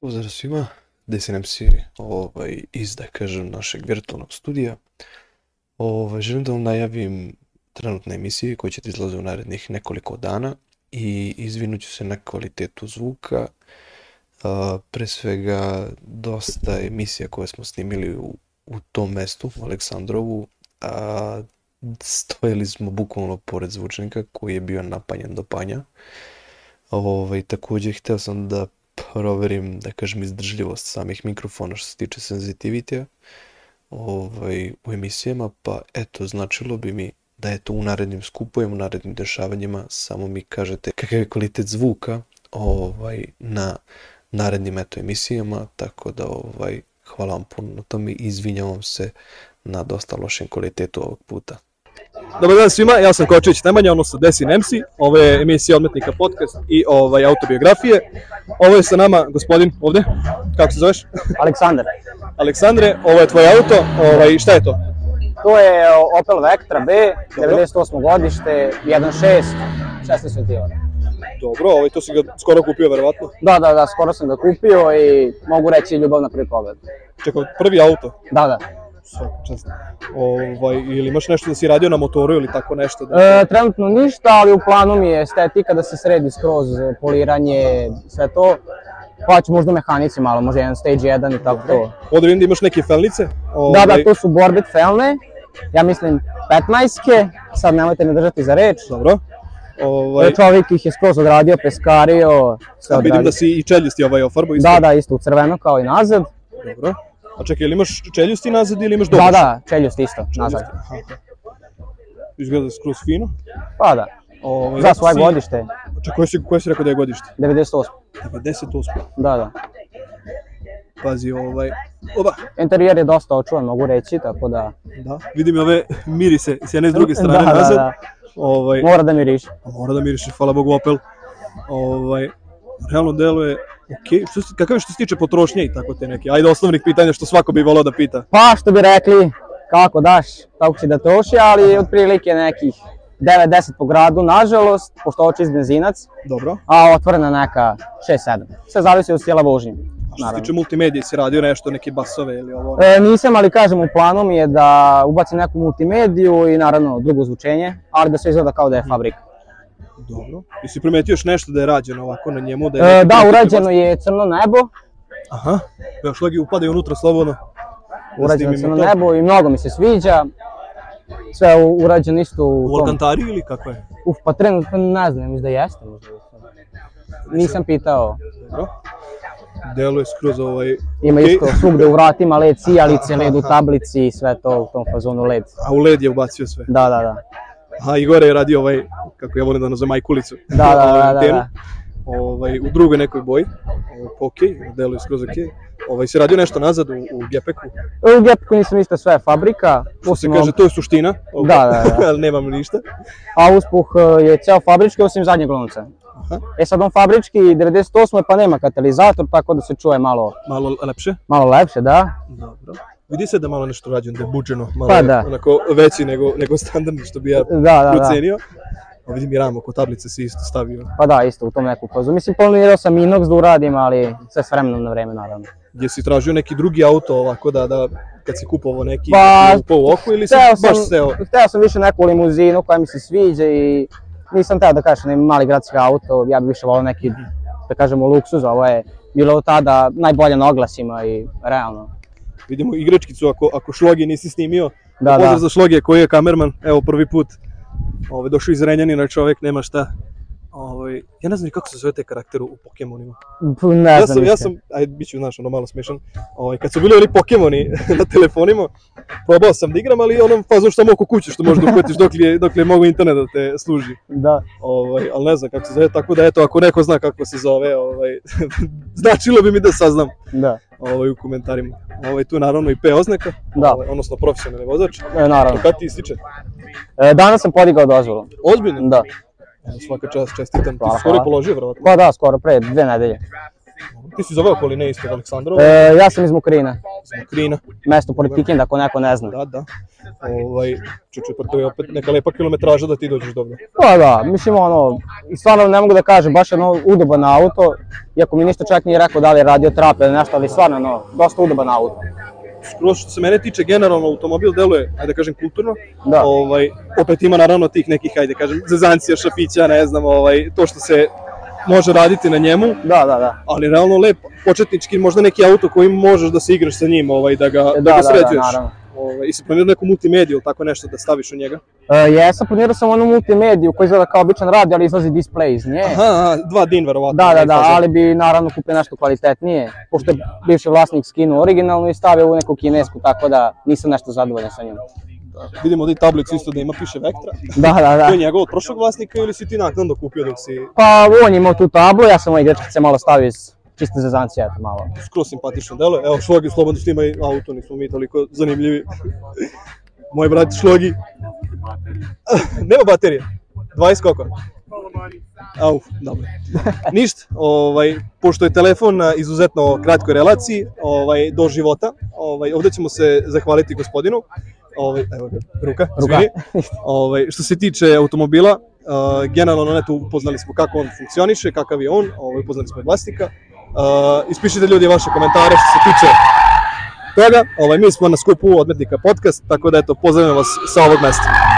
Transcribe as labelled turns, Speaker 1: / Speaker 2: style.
Speaker 1: Pozdrav svima, DSNM Siri, ovaj, iz, da kažem, našeg virtualnog studija. Ovaj, želim da vam najavim trenutne emisije koje će ti izlaze u narednih nekoliko dana i izvinut ću se na kvalitetu zvuka. A, pre svega, dosta emisija koje smo snimili u, u tom mestu, u Aleksandrovu, a, stojili smo bukvalno pored zvučnika koji je bio napanjen do panja. Ovaj, takođe, hteo sam da proverim, da kažem, izdržljivost samih mikrofona što se tiče senzitivitija ovaj, u emisijama, pa eto, značilo bi mi da je to u narednim skupovima, u narednim dešavanjima, samo mi kažete kakav je kvalitet zvuka ovaj, na narednim eto emisijama, tako da ovaj, hvala vam puno na tome i izvinjavam se na dosta lošem kvalitetu ovog puta.
Speaker 2: Dobar dan svima, ja sam Kočević Nemanja, ono sa Desi Nemsi, ovo je emisija Odmetnika podcast i ovaj, autobiografije. Ovo je sa nama gospodin ovde, kako se zoveš?
Speaker 3: Aleksandar,
Speaker 2: Aleksandre, ovo je tvoj auto, ovaj, šta je to?
Speaker 3: to je Opel Vectra B, 98. godište, 1.6, 16 ventilora.
Speaker 2: Dobro, ovaj, to si ga skoro kupio verovatno.
Speaker 3: Da, da, da, skoro sam ga kupio i mogu reći ljubav na prvi pogled.
Speaker 2: Čekaj, prvi auto,
Speaker 3: Da, da.
Speaker 2: svaka čast. Ovaj, ili imaš nešto da si radio na motoru ili tako nešto? Da...
Speaker 3: E, trenutno ništa, ali u planu mi je estetika da se sredi skroz poliranje, sve to. Pa ću možda mehanici malo, možda jedan stage 1 i tako to.
Speaker 2: Ovde vidim da imaš neke felnice. Ovaj,
Speaker 3: Da, da, to su Borbet Felne, ja mislim 15-ke, sad nemojte me držati za reč.
Speaker 2: Dobro. Ovaj,
Speaker 3: Ovaj... Čovjek ih je skroz odradio, peskario, sve
Speaker 2: vidim
Speaker 3: odradio.
Speaker 2: da si i čeljusti ovaj ofarbo. isto.
Speaker 3: Da, da, isto u crveno kao i nazad.
Speaker 2: Dobro. A čekaj, ili imaš čeljusti nazad ili imaš
Speaker 3: Da,
Speaker 2: domaš?
Speaker 3: da, čeljust isto, nazad.
Speaker 2: Aha. Izgleda skroz fino.
Speaker 3: Pa da,
Speaker 2: Ovo,
Speaker 3: za svoje godište,
Speaker 2: Čekaj, koje si, koje si rekao da je godište?
Speaker 3: 98.
Speaker 2: 98.
Speaker 3: Da, da.
Speaker 2: Pazi, ovaj... Oba,
Speaker 3: Interijer je dosta očuvan, mogu reći, tako da...
Speaker 2: da. Vidim i ove mirise s jedne i s druge strane
Speaker 3: da,
Speaker 2: nazad.
Speaker 3: Da, da,
Speaker 2: Ovaj,
Speaker 3: mora da miriše.
Speaker 2: a mora da miriše, hvala Bogu Opel. Ovaj, realno deluje okej. Što se, kakav je što se tiče potrošnje i tako te neke? Ajde, osnovnih pitanja što svako bi volao da pita.
Speaker 3: Pa, što bi rekli, kako daš, tako će da troši, ali otprilike nekih 9-10 po gradu, nažalost, pošto oči iz benzinac,
Speaker 2: Dobro.
Speaker 3: a otvorena neka 6-7. Sve zavisi od stila vožnje.
Speaker 2: A što se
Speaker 3: Naravno.
Speaker 2: tiče multimedije, si radio nešto, neke basove ili ovo?
Speaker 3: E, nisam, ali kažem, u planu mi je da ubacim neku multimediju i naravno drugo zvučenje, ali da sve izgleda kao
Speaker 2: Mm.
Speaker 3: da je fabrika.
Speaker 2: Dobro. I si primetio još nešto da je rađeno ovako na njemu? Da, je
Speaker 3: E,
Speaker 2: neki
Speaker 3: da,
Speaker 2: prototipac?
Speaker 3: urađeno je crno nebo,
Speaker 2: Aha, još logi upadaju unutra slobodno. Da
Speaker 3: urađeno je
Speaker 2: snimimo
Speaker 3: crno
Speaker 2: to.
Speaker 3: nebo i mnogo mi se sviđa. Sve je u- urađeno isto u
Speaker 2: U
Speaker 3: tom.
Speaker 2: Alkantari ili kako je?
Speaker 3: Uf, pa trenutno ne znam, mislim da jeste možda. Nisam pitao.
Speaker 2: Dobro. Deluje skroz ovaj...
Speaker 3: Ima
Speaker 2: okej.
Speaker 3: isto svugde u vratima led sijalice, led u tablici i sve to u tom fazonu led.
Speaker 2: A u led je ubacio sve.
Speaker 3: Da, da, da.
Speaker 2: A Igore je radio ovaj, kako ja volim da nazovem, majkulicu.
Speaker 3: Da, da,
Speaker 2: Ovaj,
Speaker 3: da, da,
Speaker 2: antenu.
Speaker 3: da.
Speaker 2: Ovaj, u drugoj nekoj boji. Ovaj, okej, deluje skroz okej. Ovaj, si radio nešto nazad u, u Gepeku.
Speaker 3: U Gepku nisam isto sve fabrika,
Speaker 2: Što se
Speaker 3: osim
Speaker 2: kaže, to je suština.
Speaker 3: Da, da, da.
Speaker 2: Ali nemam ništa.
Speaker 3: a uspuh e, je ceo fabrički osim zadnjeg lonca.
Speaker 2: Aha.
Speaker 3: E sad on fabrički 98. pa nema katalizator, tako da se čuje malo,
Speaker 2: Malo lepše.
Speaker 3: malo lepše, da?
Speaker 2: Dobro. Vidi se da je malo nešto rađeno, da je buđeno, malo
Speaker 3: Pa
Speaker 2: je
Speaker 3: da.
Speaker 2: onako veći nego, nego standardni što bi ja
Speaker 3: Da, da, da.
Speaker 2: procenio. A vidim i ram oko tablice si isto stavio.
Speaker 3: Pa da, isto u tom neku fazu. Mislim, planirao sam inox da uradim, ali sve s vremenom na vreme, naravno.
Speaker 2: Gdje si tražio neki drugi auto ovako da, da kad si kupovao neki
Speaker 3: Pa,
Speaker 2: pa, po oku ili si
Speaker 3: Hteo sam,
Speaker 2: baš seo?
Speaker 3: hteo sam više neku limuzinu koja mi se sviđa i nisam teo da kažem neki mali gradski auto, ja bi više volao neki, da kažemo, luksuz, ovo je bilo tada najbolje na oglasima i realno.
Speaker 2: Vidimo igračkicu ako, ako šlogi nisi snimio.
Speaker 3: Da,
Speaker 2: Pozdrav
Speaker 3: da.
Speaker 2: za šloge koji je kamerman, evo prvi put. Ove, došao iz Renjanina čovek, nema šta. Ove, ja ne znam ni kako se zove te karakteru u Pokemonima.
Speaker 3: P, Ne znam
Speaker 2: ja sam, ja
Speaker 3: iskreno.
Speaker 2: sam, ajde, bit ću, znaš, ono malo smešan, ovaj, kad su bili oni Pokemoni na telefonima, probao sam da igram, ali onom fazom što mogu kuću, što možeš da uhvatiš dok li, je- dok li je mogu internet da te služi.
Speaker 3: Da.
Speaker 2: Ovaj, ali ne znam kako se zove, tako da eto, ako neko zna kako se zove, ovaj, značilo bi mi da saznam
Speaker 3: Da,
Speaker 2: ovaj, u komentarima. Ovaj, tu je naravno i P oznaka,
Speaker 3: Da.
Speaker 2: ovaj, odnosno profesionalni vozač.
Speaker 3: e, naravno.
Speaker 2: To kad ti ističe?
Speaker 3: E, danas sam podigao dozvolu.
Speaker 2: Ozbiljno?
Speaker 3: Da.
Speaker 2: Svaka čast, čestitam. Ti
Speaker 3: Hvala,
Speaker 2: si skoro
Speaker 3: hvala.
Speaker 2: položio, vjerovatno.
Speaker 3: Pa da, skoro pre dve nedelje.
Speaker 2: Ti si zove okoline ispred Aleksandrova,
Speaker 3: E, ja sam iz Mokrina,
Speaker 2: iz Krina.
Speaker 3: mesto pored Kikinda, ako neko ne zna.
Speaker 2: Da, da. Ovaj, čuču, pa to je opet neka lepa kilometraža da ti dođeš dobro.
Speaker 3: Pa da, mislim ono, stvarno ne mogu da kažem, baš je ono udoban auto, iako mi ništa čak nije rekao da li je radio trap ili nešto, ali stvarno ono, dosta udoban auto.
Speaker 2: Skroz što se mene tiče, generalno automobil deluje, ajde da kažem, kulturno.
Speaker 3: Da.
Speaker 2: Ovaj, opet ima naravno tih nekih, ajde da kažem, zezancija, šapića, ne znam, ovaj, to što se može raditi na njemu,
Speaker 3: Da, da, da.
Speaker 2: ali realno lep, početnički, možda neki auto koji možeš da se igraš sa njim, ovaj, da ga, da,
Speaker 3: E,
Speaker 2: da ga
Speaker 3: da,
Speaker 2: sređuješ.
Speaker 3: naravno.
Speaker 2: ovaj, I si planirao neku multimediju ili tako nešto da staviš u njega?
Speaker 3: E, jesam, planirao sam onu multimediju koja izgleda kao običan radio, ali izlazi display iz nje.
Speaker 2: Aha, aha, dva din verovatno.
Speaker 3: E. Da, da,
Speaker 2: ne,
Speaker 3: da,
Speaker 2: fazon.
Speaker 3: ali bi naravno kupio nešto kvalitetnije, pošto je bivši vlasnik skinuo originalno i stavio u neku kinesku, tako da nisam nešto zadovoljan sa njom.
Speaker 2: Vidimo ovdje i tablicu isto da ima piše Vektra.
Speaker 3: Da, da, da.
Speaker 2: To je njegov od prošlog vlasnika ili si ti naknadno kupio dok si
Speaker 3: Pa on je imao tu tablu, ja sam ovaj igračkice malo stavio iz čiste zezancije, eto malo.
Speaker 2: skroz simpatično delo. Evo, šlogi slobodno snima i auto, nismo mi toliko zanimljivi. Moj brat šlogi. Nema baterije. 20 koliko? Au, dobro. Ništa, ovaj, pošto je telefon na izuzetno kratkoj relaciji, ovaj, do života, ovaj, ovdje ćemo se zahvaliti gospodinu. Ovaj, evo ga, ruka,
Speaker 3: Ruka.
Speaker 2: izvini. Ovaj, što se tiče automobila, uh, generalno ne, tu upoznali smo kako on funkcioniše, kakav je on, ovaj, upoznali smo i vlasnika. Uh, ispišite ljudi vaše komentare što se tiče toga. Ovaj, mi smo na skupu odmetnika podcast, tako da eto, pozdravljam vas sa ovog mesta.